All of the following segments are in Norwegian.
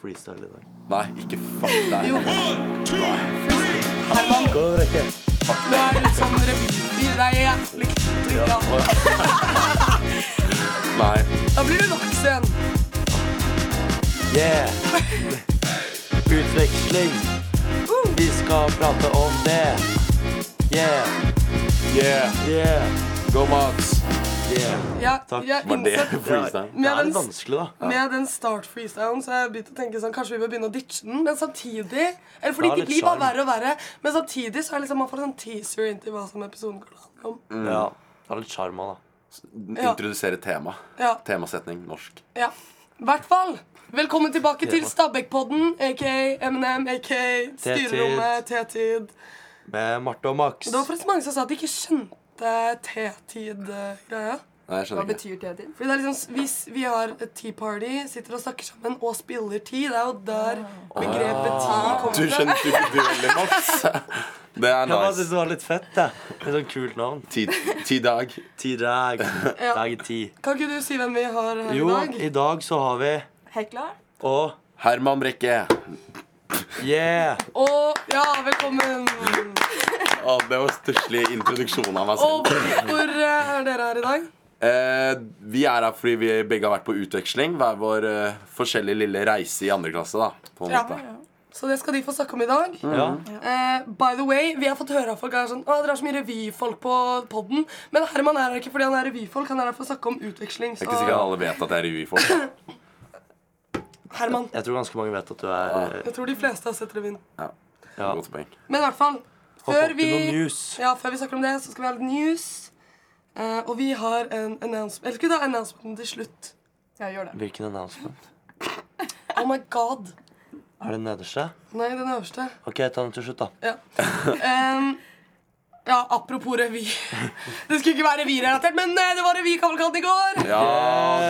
freestyle i dag. Nei, ikke fuck deg. Går det ikke? Du er litt sånn revyr. Det er jævlig kult. Ja. Nei. Da blir du voksen. Yeah! Utveksling. Vi skal prate om det. Yeah, Yeah. yeah, Go, Mats. yeah. Ja, Takk. Jeg Var det innså freestyle? Det med er den, litt vanskelig, da. med den start-freestylen så har jeg begynt å tenke sånn Kanskje vi bør begynne å ditche den, men samtidig Eller Det fordi har det litt blir bare sjarm. verre og verre, men samtidig så er det liksom man får en teaser inn til hva som episoden kan handle om. Ja, Det er litt sjarm òg, da. Ja. Introdusere tema. Ja. Temasetning norsk. Ja. I hvert fall. Velkommen tilbake til Stabæk-podden, aka MNM, aka Styrerommet, T-tid. Med Marte og Max. Det var forresten mange som sa at de ikke skjønte Nei, T-tid-greia. jeg Hva skjønner ikke. betyr det? Fordi det er liksom, Hvis vi har et tea party, sitter og snakker sammen og spiller tea, det er jo Ah. der begrepet tea Du kommer fra. skjønte ikke du heller, Mats. Det er Jeg bare nice. synes det var litt fett, det. Litt sånn kult navn. Ti, ti dag. T-dag. Ja. Dag ti. Kan ikke du si hvem vi har her Jo, i dag? i dag så har vi Hekla? og Herman Brekke. yeah. Og ja, velkommen. Å, det var stusslig introduksjon av meg Og selv. hvor eh, er dere her i dag? Eh, vi er her fordi vi begge har vært på utveksling. Hver vår eh, forskjellige lille reise i andre klasse, da. På en Ja. måte. Så det skal de få snakke om i dag. Ja. Eh, by the way, Vi har fått høre av folk er sånn, å, dere har så mye revyfolk på podden. Men Herman er her ikke fordi han er revyfolk. Han er her for å snakke om utveksling. Det Så er ikke sikkert alle vet at jeg er revyfolk. Herman, Jeg tror ganske mange vet at du er jeg tror de fleste har sett revyen. Ja. Ja. Godt poeng. Men i hvert fall Hopp før opp vi, til noen news. ja, før vi snakker om det, så skal vi ha litt news. Eh, og vi har en announcement Eller skal vi ta announcementen til slutt? Ja, gjør det. Hvilken announcement? Oh my god. Er det den nederste? Nei, den øverste. OK, ta den til slutt, da. Ja, Em, ja apropos revy. Det skulle ikke være revyrelatert, men eh, det var revykavalkaden i går. Ja,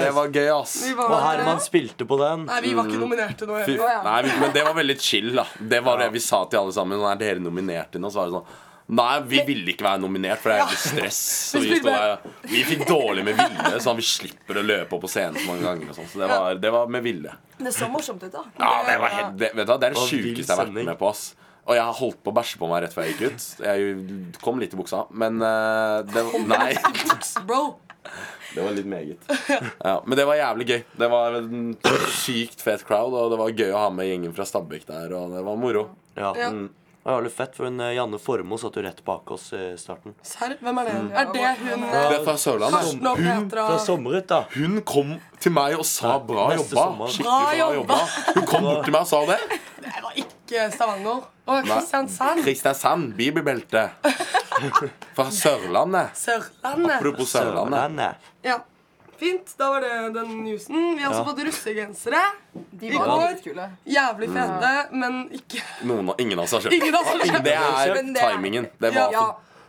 det var gøy, ass. Vi var Og der. Herman spilte på den. Nei, vi var ikke nominerte nå. Fy, heller. ja. nei, vi- men det var veldig chill, da. Det var det vi sa til alle sammen. Sånn, er dere nominert til noe? Så var det sånn Nei, vi ville ikke være nominert, for det er jævlig stress. Så Vi vi, sto spiller- der, vi fikk dårlig med vilje, sånn at vi slipper å løpe opp på scenen så mange ganger. Og sånn, så det var, det var med vilje. Det så morsomt ut, da. Ja, det var helt, det, vet du hva, det er det Og vill sjukeste jeg har vært stemning. med på. ass Og jeg holdt på å bæsje på meg rett før jeg gikk ut. Jeg kom litt i buksa, men eh, det, Nei. Bro, Det var litt meget. Ja, men det var jævlig gøy. Det var en sykt fet crowd, og det var gøy å ha med gjengen fra Stabekk der, og det var moro. Ja. Ja. Mm. Det var jævlig fett, for hun, eh, Janne Formoe satt jo rett bak oss i starten. serr? Hvem er det? Er det hun Ja. eh, Det er fra Sørlandet. Karsten og Petra? Fra sommerut, da. Hun kom til meg og sa 'bra neste jobba'. sommer. Skikkelig bra Bra jobba. Hun kom bort til meg og sa det. Det var ikke Stavanger. Og Kristiansand. Kristiansand, bibelbelte. Fra Sørlandet. Sørlandet. Apropos Sørlandet. Sørlandet. Ja. Fint. Da var det den newsen. Vi har også Ja. fått russegensere. De I var går- dritkule. Jævlig Mm. fete, men ikke Noen, ingen av oss har kjøpt. Ingen av oss har Det er Men det er- timingen. Det Ja. var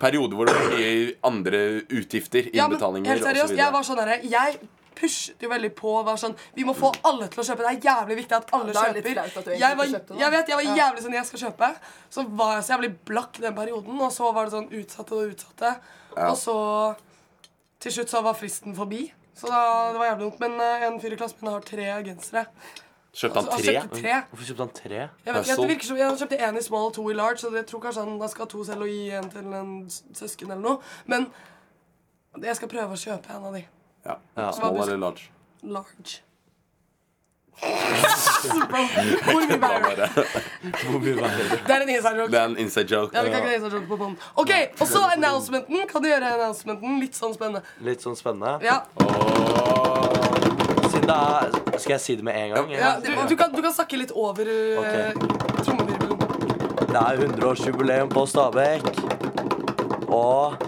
for perioder hvor det var mye andre utgifter, Ja, men innbetalinger helt seriøst, osv. jeg var sånn herre Jeg pushet jo veldig på. Var sånn, vi må få alle til å kjøpe. Det er jævlig viktig at alle Ja, det er litt kjøper. flaut at du egentlig jeg, var, ikke kjøpte noe. jeg vet, jeg var Ja. jævlig sånn Jeg skal kjøpe. Så var jeg så jævlig blakk den perioden, og så var det sånn utsatte og utsatte. Og så Til slutt så var fristen forbi. Så da, det var jævlig vondt. Men eh, en fyr i klassen min har tre gensere. Kjøpte Så han han tre? kjøpte tre. Hvorfor kjøpte han tre? Jeg vet ikke, Hustle. det virker som Jeg kjøpte én i small og to i large, så jeg tror kanskje han da skal ha to selv og gi en til en s- søsken eller noe. Men jeg skal prøve å kjøpe en av de. Ja. Ja. Small eller large? Large. Bro, hvor mye Da bærer du? bare. Hvor mye veier det? Det er en inside joke. Det er en inside joke. Ja, vi kan ikke ha inside joke på bånd. Ok, Og så announcementen. Kan du gjøre announcementen litt sånn spennende? Litt sånn spennende. Ja, Siden det er Skal jeg si det med en gang? ja du, du, kan, du kan snakke litt over uh, Ok. trommevirvelen. Det er 100-årsjubileum på Stabekk. Og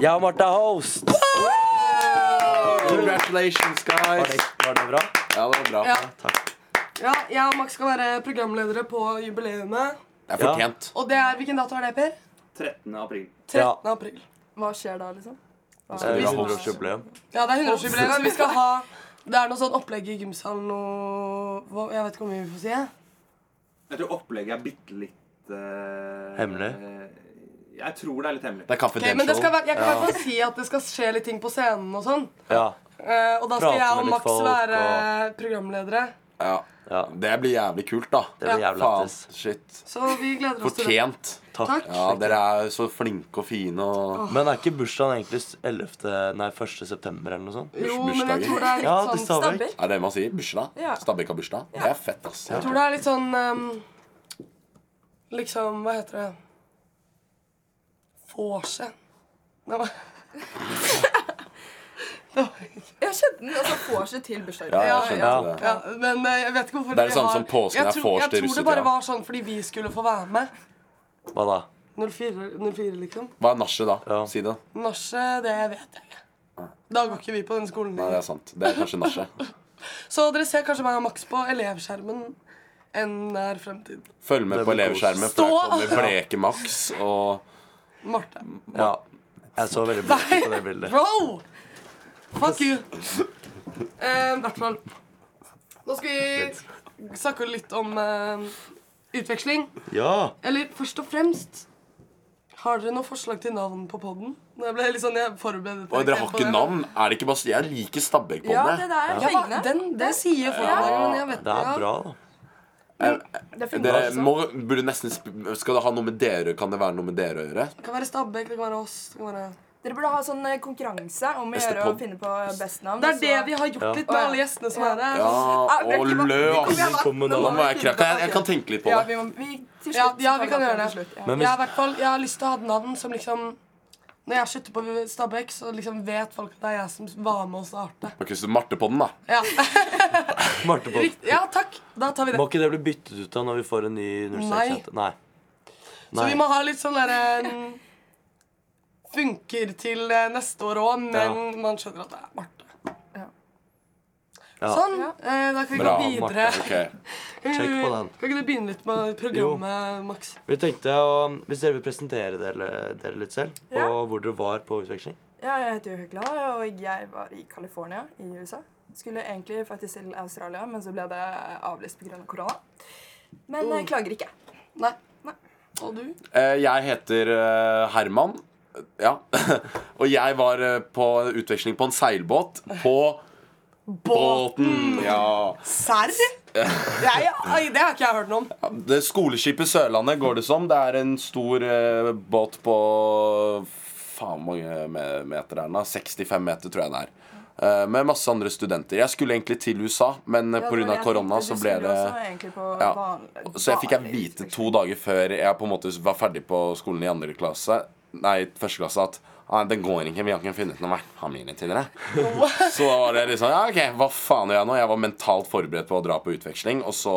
jeg og Marte er host. Congratulations, Var det, guys. var det bra? Ja, det var bra. Ja. Takk. ja, jeg og Max skal være programledere på jubileet. Det er fortjent. Og det er, hvilken dato er det, Per? 13. april. 13. Ja. april. Hva skjer da, liksom? Hva- Det er Vi- 100-årsjubileum. Ja, det er 100-årsjubileum, så vi skal ha Det er noe sånn opplegg i gymsalen og hva- Jeg vet ikke om vi får si det. Jeg tror opplegget er bitte litt eh, Hemmelig? eh, jeg tror det er litt hemmelig. Det er Ok, men det skal confidential. være, jeg kan i hvert fall si at det skal skje litt ting på scenen og sånn. Ja. Eh, og da skal Prate jeg med og litt Max folk, være programledere. Ja. Ja. Det blir jævlig kult, da. Det blir Ja. jævlig Faen, lættis. shit. Så vi gleder oss til det. Fortjent. Takk. Ja, dere er så flinke og fine og Men er ikke bursdagen egentlig s- 11. Nei, 1. september eller noe sånt? Jo, men jeg bursdager. tror det er litt Ja, sånn det sa vi. Stabber. Er det det man sier? Bursdag? Ja. Stabæk har bursdag? Det er fett, ass. Jeg tror det er litt sånn ehm, Liksom, hva heter det? Vorse. Det var Jeg kjente den altså får seg til bursdagen. Ja, Ja, jeg skjønte ja. det. Ja, men eh, jeg vet ikke hvorfor Det er det vi samme har- som påsken Jeg er tror- vors til Jeg tror det russetida. bare var sånn fordi vi skulle få være med. Hva da? 04, 04 liksom. Hva er nachet, da? Ja. Si det. Norse, det vet jeg ikke. Da går ikke vi på den skolen. Nei, det er sant. Det er kanskje nachet. Så dere ser kanskje meg og Max på elevskjermen en nær fremtid. Følg med Det på blir kos. elevskjermen, for der kommer bleke Max og Marte. Ja. Jeg så veldig bra på Mm, det bildet. Bro! Fuck you. Eh, I hvert fall. Nå skal vi snakke litt om eh, utveksling. Ja! Eller først og fremst Har dere noe forslag til navn på poden? Jeg ble litt sånn, jeg forberedte Og dere har på ikke det. navn? Er det ikke bare Jeg liker Stabæk på Ja, det der er Ja, fengende. den, det sier folk Ja. der, men jeg vet Det er ikke. bra, da. Det finnes Dere også. må, burde nesten sp- Skal det ha noe med dere Kan det være noe med dere å gjøre? Det kan være Stabæk, det kan være oss. Det, kan være... Dere burde ha sånn eh, konkurranse om å Beste gjøre å pod. finne på best navn. det er og det så- vi har gjort Ja. litt med alle gjestene som er her. Ja, Ah, vel, og ikke bare- lø, vi ass. kommer hjem, da. Velkommen, Nå Da da. må må vi jeg finne krakke. på Jeg, jeg kan tenke litt på Ja, det. vi må, vi, til slutt, Ja, ja, tar vi kan gjøre det. det. til slutt, ja. Men Jeg har, i hvis, hvert fall, jeg har lyst til å ha et navn som liksom Når jeg slutter på Stabæk, så liksom vet folk at det er jeg som var med å starte. Ok, så Marte på den, da. Ja, Marte på rikt- ja takk. Da tar vi det. Må ikke det bli byttet ut da når vi får en ny 06-jente? Nei. Så vi må ha litt sånn derre Funker til eh, neste år òg, men man skjønner at det er Marte. Ja. Sånn. Ja. eh, Da kan vi Bra, gå videre. Mm. Marte. ok. Check på den. Kan ikke du begynne litt med programmet, Max? Vi tenkte å, Hvis dere vil presentere dere, dere litt selv, Ja. og hvor dere var på utveksling Ja, jeg heter jo Hekla, og jeg var i California i USA. Skulle egentlig faktisk til Australia, men så ble det avlyst pga. Av korona. Men Mm. jeg klager ikke. Nei. Nei. Og du? Eh, Jeg heter eh, Herman. Ja. Og jeg var eh, på utveksling på en seilbåt. På båten! Ja. Serr? Nei, Oi, det har ikke jeg hørt noe om. Det Skoleskipet Sørlandet går det som. Det er en stor eh, båt på Faen, hvor mange me- meter er den? da? 65 meter, tror jeg det er. Eh, med masse andre studenter. Jeg skulle egentlig til USA, men eh, Ja, på grunn det var det av jeg korona tenkte. så Du ble skulle det også egentlig på ja. vanlig- Så jeg fikk jeg vanlig vite utveksling. to dager før jeg på en måte var ferdig på skolen i andre klasse Nei, første klasse at Nei, det går ikke, vi har ikke funnet noen vertfamilie til dere. Så da var det liksom Ja, ok, hva faen gjør jeg nå? Jeg var mentalt forberedt på å dra på utveksling, og så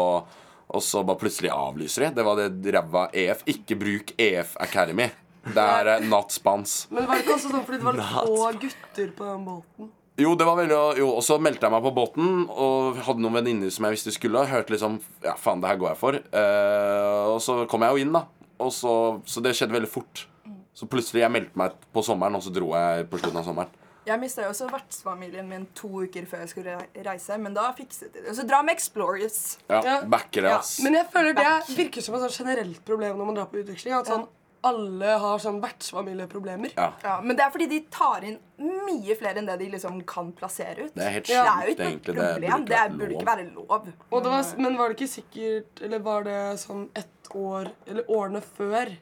og så bare plutselig avlyser de. Det var det ræva EF. Ikke bruk EF Academy. Det er eh, not spans. Men det var ikke også sånn fordi det var litt få gutter på den båten. Jo, det var veldig Jo, og så meldte jeg meg på båten og hadde noen venninner som jeg visste skulle. og Hørte liksom Ja, faen, det her går jeg for. Eh, og så kom jeg jo inn, da. Og så, så det skjedde veldig fort. Så plutselig jeg meldte meg på sommeren, og så dro jeg på slutten av sommeren. Jeg mista jo også vertsfamilien min to uker før jeg skulle re- reise, men da fikset de det. Så dra med Explorers. Ja, Ja. Backer det, Ja, ass. Men jeg føler det virker som et sånn generelt problem når man drar på utveksling. At sånn alle har sånn vertsfamilieproblemer. Ja. Ja, men det er fordi de tar inn mye flere enn det de liksom kan plassere ut. Det er helt det er jo sjukt, ikke noe egentlig. Det burde problem. ikke Det vært burde lov. ikke være lov. Og det var, men var det ikke sikkert Eller var det sånn ett år Eller årene før?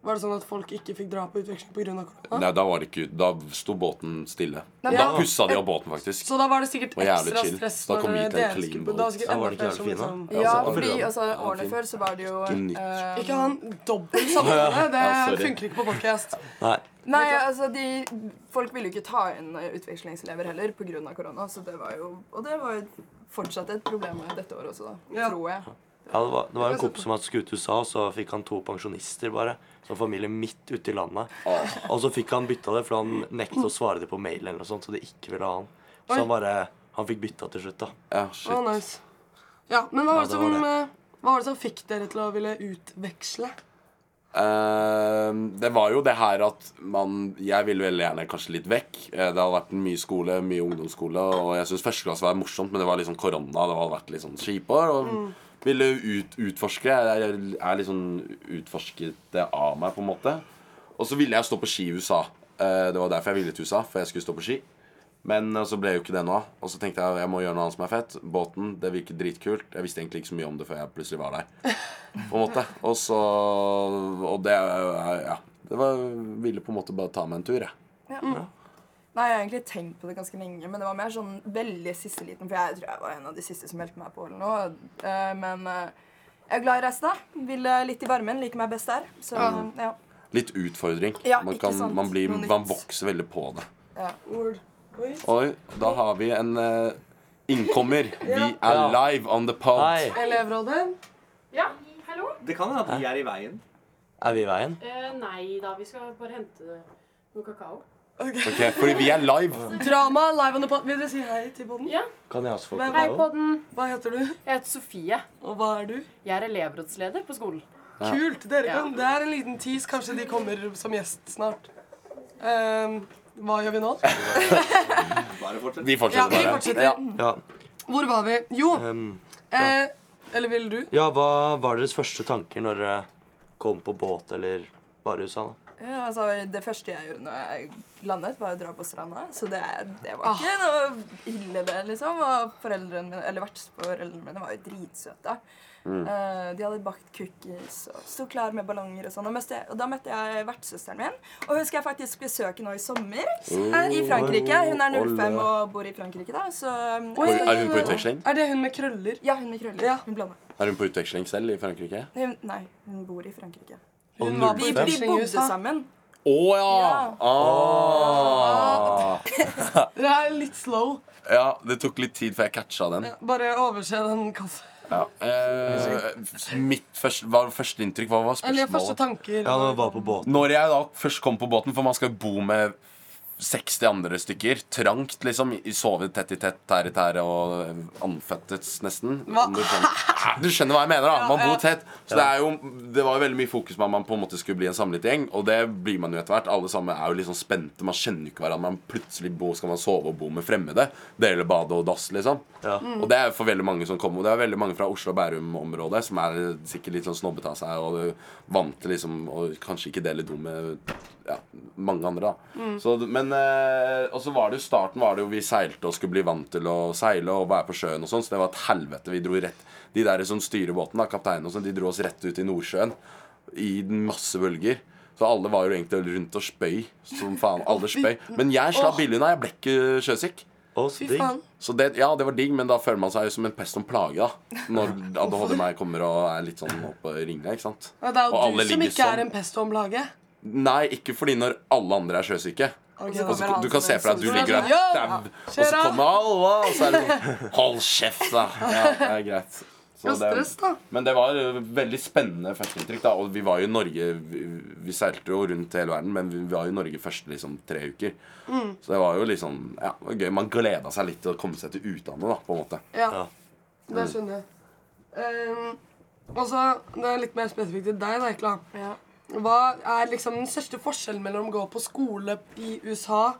Var det sånn at folk ikke fikk dra på utveksling pga. korona? Nei, da var det ikke Da sto båten stille. Nei, Da men- pussa de opp båten, faktisk. Så da var det sikkert var jævlig ekstra chill. stress Da kom når vi til en dere clean skulle på Da var det boat. sikkert Ja, var enda det ikke jævlig flere som fin, da? liksom Ja, altså, fordi ja, altså, årene fint. før så var det jo Ikke nytt. eh, Ikke ha en dobbel samtale. Det Ja, sorry. funker ikke på podcast Nei. Nei, altså de, Folk ville jo ikke ta inn eh, utvekslingselever heller pga. korona. Så det var jo, og det var jo fortsatt et problem dette året også, da, Ja. tror jeg. Ja, det, var, det var en kompis som hadde skutt til USA, og så fikk han to pensjonister bare. Som familie midt ute i landet. Og så fikk han bytta det, for han nektet å svare det på mail, eller noe sånt, så de ikke ville ha han. Så han bare Han fikk bytta til slutt, da. Ja, Å, shit. nice. Ja, men hva var, det Ja, det var som, eh, hva var det som fikk dere til å ville utveksle? Eh, det var jo det her at man Jeg ville veldig gjerne kanskje litt vekk. Eh, Det hadde vært mye skole, mye ungdomsskole, og jeg syns første klasse var morsomt, men det var liksom korona, det hadde vært litt sånn skipår. Og ville ut, utforske. Jeg er er litt sånn utforsket det av meg, på en måte. Og så ville jeg stå på ski i USA. Eh, Det var derfor jeg ville til USA, for jeg skulle stå på ski. Men eh, så ble jo ikke det noe av. Og så tenkte jeg jeg må gjøre noe annet som er fett. Båten det virker dritkult. Jeg visste egentlig ikke så mye om det før jeg plutselig var der. På en måte Og så Og det eh, Ja. Det var, ville på en måte bare ta meg en tur, jeg. Nei, jeg har egentlig tenkt på det ganske lenge, men det var mer sånn veldig siste liten, for jeg tror jeg var en av de siste som meldte meg på eller noe. Eh, Men eh, jeg er glad i reisen, da. Vil eh, litt i varmen, liker meg best der. Så ja. Litt utfordring. Ja, man, ikke kan, sant. man, blir, Noe nytt. man vokser veldig på det. ja. Ord. Oi. Oi, da har vi en eh, innkommer. Vi er Ja. live on the pod. Hei, Elevrådet. Ja, hallo? Det kan hende at vi er i veien. er vi i veien? Eh, nei da, vi skal bare hente noe kakao. Ok, fordi vi er live. Drama live on the pod. Vil dere si hei til podden? Ja. Kan jeg også få Men- Hei på kakao? den. Hva heter du? Jeg heter Sofie. Og hva er du? Jeg er elevrådsleder på skolen. Kult. Dere Ja. kan. Det er en liten tease. Kanskje de kommer som gjest snart. Ehm, hva gjør vi nå? Bare fortsett. Vi Ja, fortsetter vi bare. fortsetter. Ja. Hvor var vi? Jo, ehm, eh, eller vil du? ja, hva var deres første tanker når dere kom på båt eller varehus? Anna? Ja, altså, det første jeg gjorde når jeg landet, var å dra på stranda. Så det, det Ah. var ikke noe ille, det, liksom. Og foreldrene mine, eller vertsforeldrene mine var jo dritsøte. Mm. Eh, de hadde bakt cookies og sto klar med ballonger og sånn. Og, møtte jeg- og da møtte jeg vertssøsteren min. Og hun skal jeg faktisk besøke nå i sommer. I Frankrike. Hun er 05 og bor i Frankrike, da. Så um, Oi, Er hun på utveksling? Er det hun med krøller? Ja, hun med krøller. Ja. Hun blonde. Er hun på utveksling selv i Frankrike? Hun, nei, hun bor i Frankrike. Og Hun var på Vi, null- utveksling. vi i bodde USA. sammen. Å ja! Ja. Ah. Det er litt slow. ja! Det tok litt tid før jeg catcha den. Bare overse den kassa. Ja. Eh, mitt første, hva var første inntrykk? Hva var Eller første spørsmålet? tanker. Ja, når vi var på båten. Når jeg da først kom på båten, for man skal jo bo med 60 andre stykker. Trangt, liksom. i- Sove tett i tett, tære i tære og anføttes, nesten. Hva? Om Du skjønner, du skjønner hva jeg mener, da. Man Ja, ja. bor tett. Så det, er jo, det var jo veldig mye fokus på at man på en måte skulle bli en samlet gjeng, og det blir man jo etter hvert. Alle sammen er jo litt sånn spente. Man kjenner jo ikke hverandre. Man plutselig bo, skal man sove og bo med fremmede. Dele bade og dass, liksom. Ja. Og det er for veldig mange som kommer. Og det er veldig mange fra Oslo og Bærum-området som er sikkert litt sånn snobbete av seg og vant til liksom å kanskje ikke dele do med ja, mange andre, da. Så, men eh, Og så var det jo starten var det jo vi seilte og skulle bli vant til å seile og være på sjøen og sånn, så det var et helvete. Vi dro rett De der som styrer båten, da, kapteinen og sånn, de dro oss rett ut i Nordsjøen i masse bølger. Så alle var jo egentlig rundt og spøy som faen. Alle spøy. Men jeg slapp billig unna. Jeg ble ikke sjøsyk. Og så Fy digg. faen. Så det, ja, det var digg, men da føler man seg jo som en pest om plage, da. Når ADHD meg kommer og er litt sånn oppe og ringer, ikke sant. Ja, det er Og jo alle du som ligger ikke er sånn. en pest om laget. Nei, ikke fordi når alle andre er sjøsyke. så Og så, kommer han altså, du kan se som for deg en at du ligger der Ja. dau, og så Kjøra. kommer alle, og så er det sånn Hold kjeft, da. Ja, det er greit. Så Ja, stress, da. men det var eh, veldig spennende førsteinntrykk. da, Og vi var jo i Norge Vi, vi seilte jo rundt hele verden, men vi var jo i Norge første liksom, tre uker. Mm. Så det var jo liksom ja, det var gøy. Man gleda seg litt til å komme seg til utlandet, da, på en måte. Ja, Ja. det skjønner jeg. Ehm, og så, det er litt mer spesifikt til deg, da, Ekla. Ja. Hva er liksom den største forskjellen mellom å gå på skole i USA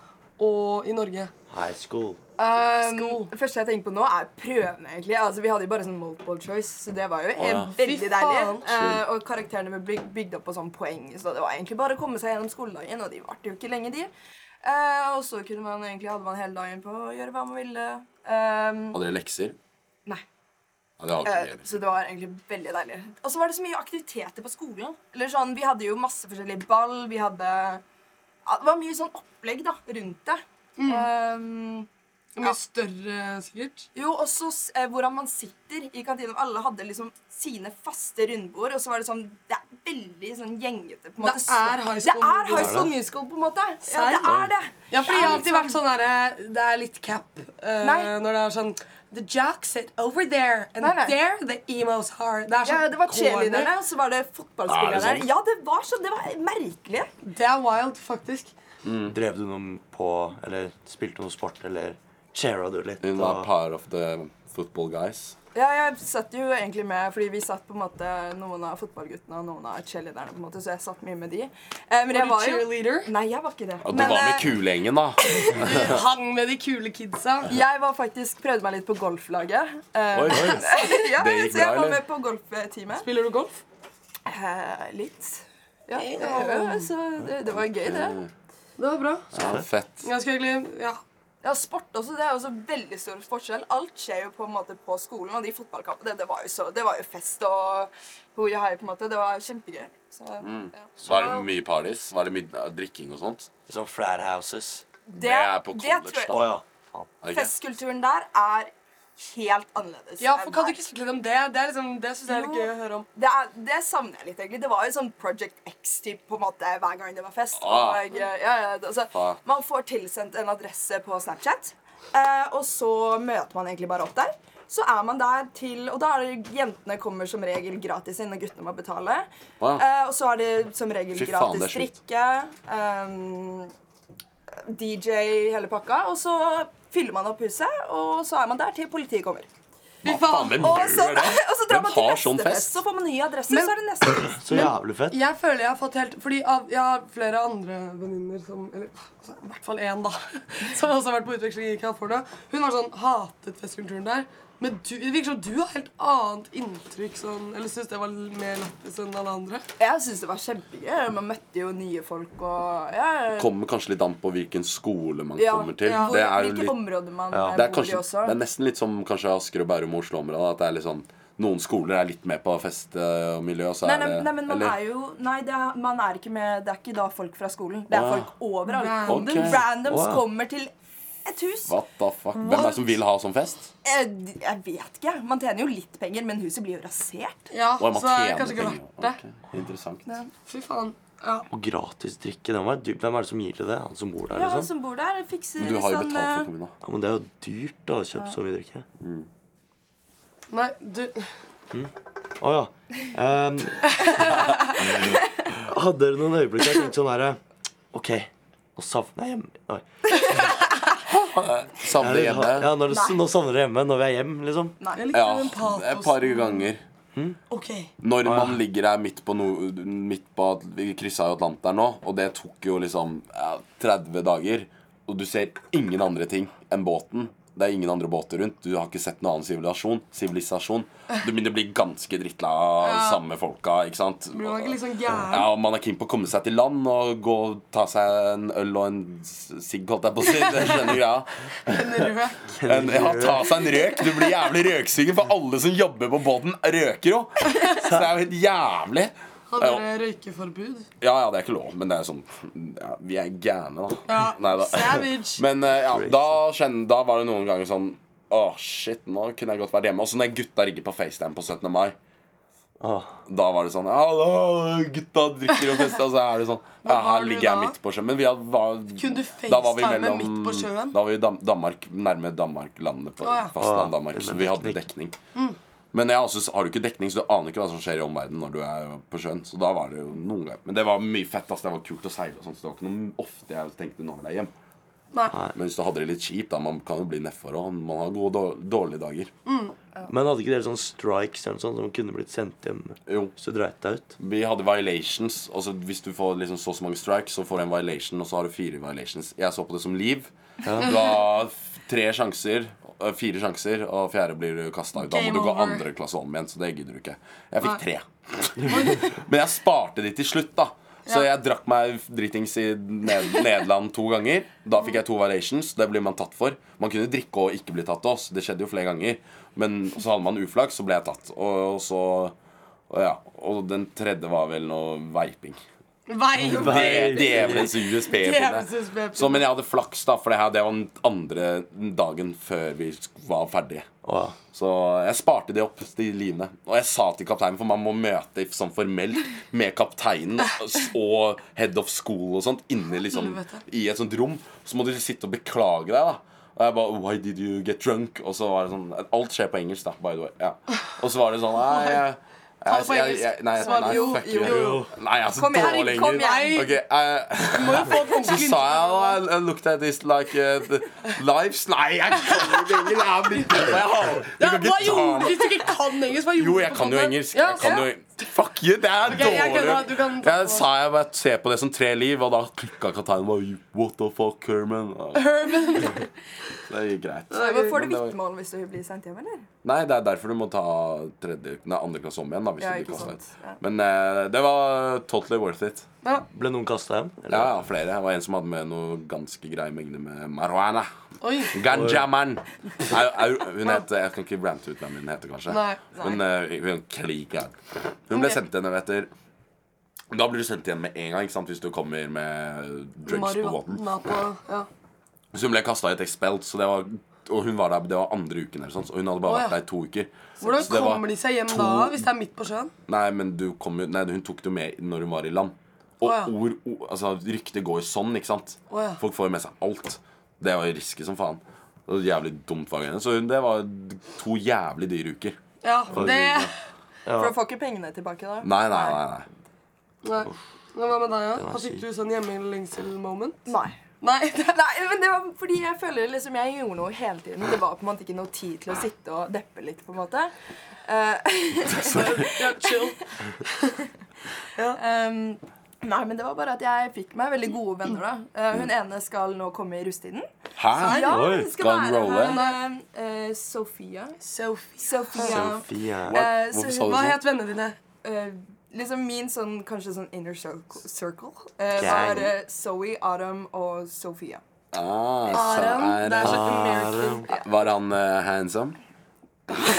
og i Norge? High school. Um, Skål. det første jeg tenker på nå, er prøvene, egentlig. Altså, vi hadde jo bare sånn multiple choice, så det var jo eh, ja. Fy veldig deilig. faen. Eh, og karakterene ble byg- bygd opp på sånn poeng, så det var egentlig bare å komme seg gjennom skoledagen, og de varte jo ikke lenge, de. Eh, og så kunne man egentlig, hadde man hele dagen på å gjøre hva man ville. Um, Hadde dere lekser? nei. Ja, det har ikke Eh, jeg heller. Så det var egentlig veldig deilig. Og så var det så mye aktiviteter på skolen. Eller sånn, Vi hadde jo masse forskjellige ball. Vi hadde ja, Det var mye sånn opplegg da, rundt det. Mm. Um, Mye Ja. større, sikkert. jo, og så s- eh, hvordan man sitter i kantina. Alle hadde liksom sine faste rundbord, og så var det sånn Det er veldig sånn gjengete, på en måte. Det er high Det school er musical. high school musical, på en måte. Ja, det Serr? er det. Ja, fordi jeg har alltid vært sånn derre Det er litt cap eh, Nei. når det er sånn The jacks sit over there, and Nei, nei. there the emos are Det er Ja, sånn det var corny. cheerleaderne, og så var det Er det fotballspillerne. sant? Ja, det var sånn. Det var merkelig. Det er wild, faktisk. Mm. Drev du noe på Eller spilte noe sport, eller cheera du litt? Hun og- var part of the football guys. Ja, jeg satt jo egentlig med, fordi vi satt på en måte noen av fotballguttene og noen av cheerleaderne, på en måte, så jeg satt mye med de. Eh, men Var jeg du var jo cheerleader? Nei, jeg var ikke det. Og du Men, var med eh, kulegjengen, da. Hang med de kule kidsa. Jeg var faktisk, prøvde meg litt på golflaget. Eh, Oi, oi. ja, Det gikk så jeg bra, var eller? med på golfteamet. Spiller du golf? Eh, litt. Ja, eh, så det, det var gøy, det. Det var bra. Ja, fett. Ganske hyggelig. Ja. Ja, sport også. Det er jo så veldig stor forskjell. Alt skjer jo på en måte på skolen, og de fotballkampene, det, det var jo så Det var jo fest og hoi og hei, på en måte. Det var kjempegøy. Så, Mm. eh, ja. Var det mye parties? Var det mye drikking og sånt? Sånn flat houses. det, er på college, tror jeg- Å ja. Faen. Er det ikke? Festkulturen der er helt annerledes. Ja, for enn Kan du her. ikke snakke litt om det? Det, er liksom, det syns jeg er litt Jo. gøy å høre om. Det, er, det savner jeg litt, egentlig. Det var jo sånn Project X-typ på en måte hver gang det var fest. Ah. Og, eh, ja, ja, altså, Ah. Man får tilsendt en adresse på Snapchat, eh, og så møter man egentlig bare opp der. Så er man der til Og da er det jentene kommer som regel gratis inn, og guttene må betale. Wow. Eh, og så er det som regel Fy faen, gratis det drikke. ehm, DJ, hele pakka. Og så fyller man opp huset, og så er man der til politiet kommer. Fy Faen, faen. hvem Og gjør så, det? og så drar Hvem man til har neste sånn fest? fest? Så får man ny adresse, Men- så er det neste fest. Så jævlig fett. Jeg føler jeg har fått helt Fordi av, jeg har flere andre venninner som Eller altså, i hvert fall én, da. Som også har vært på utveksling i California. Hun har sånn hatet festkulturen der. Men du, det virker som du har helt annet inntrykk sånn Eller syns det var mer lættis enn alle andre. Jeg syns det var kjempegøy. Man møtte jo nye folk og ja, ja, ja. Kommer kanskje litt an på hvilken skole man Ja, kommer til. ja. Det er jo Hvilke litt områder man Ja. eh, det er, bor i kanskje, også. det er nesten litt som kanskje Asker og Bærum og Oslo-området. At det er litt sånn Noen skoler er litt med på festmiljøet, og så Nei, er nei, det nei, men man eller- er jo Nei, det er, man er ikke med Det er ikke da folk fra skolen. Det er Wow. folk overalt. Random. Random- Ok. Randoms Wow. kommer til et hus. What the fuck? Hvem er det som vil ha sånn fest? Jeg, jeg vet ikke. Man tjener jo litt penger, men huset blir jo rasert. Ja, Og man så er det tjener kanskje ikke penger. verdt det. Ok, Interessant. Fy faen. Ja. Og gratis drikke. Den var dyrt. Hvem er det som gir til det? Han som bor der? Ja, altså- han liksom? som bor der, fikser Men du har jo sånn, betalt for eh, kommunen. da. Ja, men det er jo dyrt da, å kjøpe så mye drikke. Nei, du Å ja. Ehm, hadde dere noen øyeblikk jeg tenkte sånn herre OK, nå savner jeg hjemme Oi. Savner Ja, hjemme. sånn, ja, når, det- nå savner dere hjemme når vi er hjemme, liksom. Jeg likte Ja, den et patosen. par ganger. OK. Når man ligger der midt på, no, midt på at Vi kryssa jo Atlanteren nå, og det tok jo liksom ja, 30 dager. Og du ser ingen andre ting enn båten. Det er ingen andre båter rundt. Du har ikke sett noen annen sivilisasjon. sivilisasjon. Du begynner å bli ganske drittla av samme folka, ikke sant? Blir man ikke litt sånn Ja, gæren? og Man er keen på å komme seg til land og gå og ta seg en øl og en s- sigg, holdt jeg på å si. Det skjønner greia. Rød? En, ja, ta seg en røk. Du blir jævlig røksyken, for alle som jobber på båten, røker jo. Så det er jo helt jævlig. Hadde dere røykeforbud? Ja, ja, det er ikke lov, men det er sånn ja, Vi er gærne, da. Ja, Neida. savage. Men eh, ja, da, kjenn- da var det noen ganger sånn Å, shit, nå kunne jeg godt vært hjemme. Og så når gutta rigger på FaceTime på 17. mai, Åh. da var det sånn Ja, da, gutta drikker og fester, og så er det sånn Ja, var her du ligger jeg da? midt på sjøen. Men vi hadde, var, Kunne du da var vi FaceTime mellom- midt på Da sjøen? var vi i Dam Danmark, nærme Danmark-landet på Å, ja. fastland Å, Danmark, Ah, så Mm. men vi hadde dekning. dekning. Men jeg også, har du ikke dekning, så du aner ikke hva som skjer i omverdenen når du er på sjøen. Så da var det jo noen ganger Men det var mye fett, ass. Det var kult å seile og sånt, så det var ikke noe ofte jeg tenkte nå vil jeg hjem. Nei. Men hvis du hadde det litt kjipt, da man kan jo bli nedfor og man har gode og dårlige dager. Men hadde ikke dere sånn strikes eller noe sånt som kunne blitt sendt hjem Jo. hvis du dreit deg ut? Vi hadde violations. Altså Hvis du får liksom så og så mange strikes, så får du en violation, og så har du fire violations. Jeg så på det som liv. Du har f- tre sjanser, ø, fire sjanser, og fjerde blir du kasta ut. Da må Game du gå over. andre klasse om igjen, så det gidder du ikke. Jeg fikk tre. Men jeg sparte de til slutt, da. Så jeg drakk meg dritings i Ned Nederland to ganger. Da fikk jeg to violations. Det blir man tatt for. Man kunne drikke og ikke bli tatt av oss. Det skjedde jo flere ganger. Men så hadde man uflaks, så ble jeg tatt. Og, og så og ja, og den tredje var vel noe veiping. Vei. Det- Djevelens Djevelens USB-pinne. USB-pinne. Så, men jeg hadde flaks, da, for det, her, det var den andre dagen før vi sk- var ferdige. Åh. Så jeg sparte de opp, de livene. Og jeg sa til kapteinen, for man må møte sånn formelt med kapteinen s- og head of school og sånt inne liksom Helvete. i et sånt rom. Så må du sitte og beklage deg, da. Og jeg bare Why did you get drunk? Og så var det sånn Alt skjer på engelsk, da, by the way. Ja. Og så var det sånn Nei, jeg, det på jeg, jeg, engelsk. jeg Nei, jeg- Svar nei, jo, fuck jo. you. Nei, jeg er så Kom igjen, dårlig kom engelsk. igjen. Ok, jeg Må jo få så konken. sa jeg og I looked at this like uh, the lives Nei, jeg kan ikke engelsk. Jeg er blitt- jeg har- Du Ja, kan hva ikke ta gjorde meg Hvis du ikke kan engelsk, hva gjorde Jo, du jeg på kan jo kongen? engelsk. Ja, Jeg kan ja. jo Fuck you, det er Ok, jeg dårlig. kødda, du kan ta Jeg på. sa jeg bare ser på det som tre liv, og da klikka Katarina bare "You- What the fuck, Herman? Ja, Det gikk greit. eh, Men får du Men det var- vitnemål hvis du blir sendt hjem, eller? Nei, det er derfor du må ta tredje, nei, andre klasse om igjen. da hvis Ja, du ikke blir kastet sant. ut. Ja. Men eh, det var totally worth it. Ble noen kasta hjem? Eller? Ja, ja, flere. Det var en som hadde med noe ganske greie mengde med marihuana. Oi. Ganjaman. Au- au- Hun het Jeg kan ikke rante ut hvem hun heter, kanskje. Nei. Men eh, hun klika. Hun ble Ok. sendt hjem etter Da blir du sendt igjen med en gang ikke sant, hvis du kommer med drugs på båten. Marihuana på ja. Så hun ble kasta ut expelled, så det var, og hun var der det var andre uken. eller sånn, så Hun hadde bare Å, ja. vært der i to uker. Hvordan Så det var kommer de seg hjem to- da, hvis det er midt på sjøen? Nei, men du kom, jo- nei, hun tok det jo med når hun var i land. Og Å, ja. ord, ord altså, Ryktet går jo sånn, ikke sant? Å, ja. Folk får jo med seg alt. Det var jo risky som faen. Det var jævlig dumt for henne. Så hun, det var to jævlig dyre uker. Ja, det For du får ikke pengene tilbake da. Nei, nei, nei. nei. Nei. Men hva med deg, da? var Hva Fikk syk. du sånn hjemmelengsel-moment? Nei. Nei. det- Nei, men det var fordi jeg føler liksom jeg gjorde noe hele tiden. Det var på en måte ikke noe tid til å sitte og deppe litt, på en måte. Ja, chill. Ehm, nei, men det var bare at jeg fikk meg veldig gode venner, da. Eh, hun ene skal nå komme i rusttiden. Hæ? Ja, Oi, hun skal skal hun være rolle? her. eh, Sofia. Selfie. Sophia. Sofie. Eh, så Hvorfor hun sa du Hva sånn? het vennene dine? Eh, liksom min sånn, kanskje sånn inner circle, circle eh, Gang. var eh, Zoe, Adam og altså, Sofia. Ah, så Aron. er Det er så det- American. Var han eh, handsome?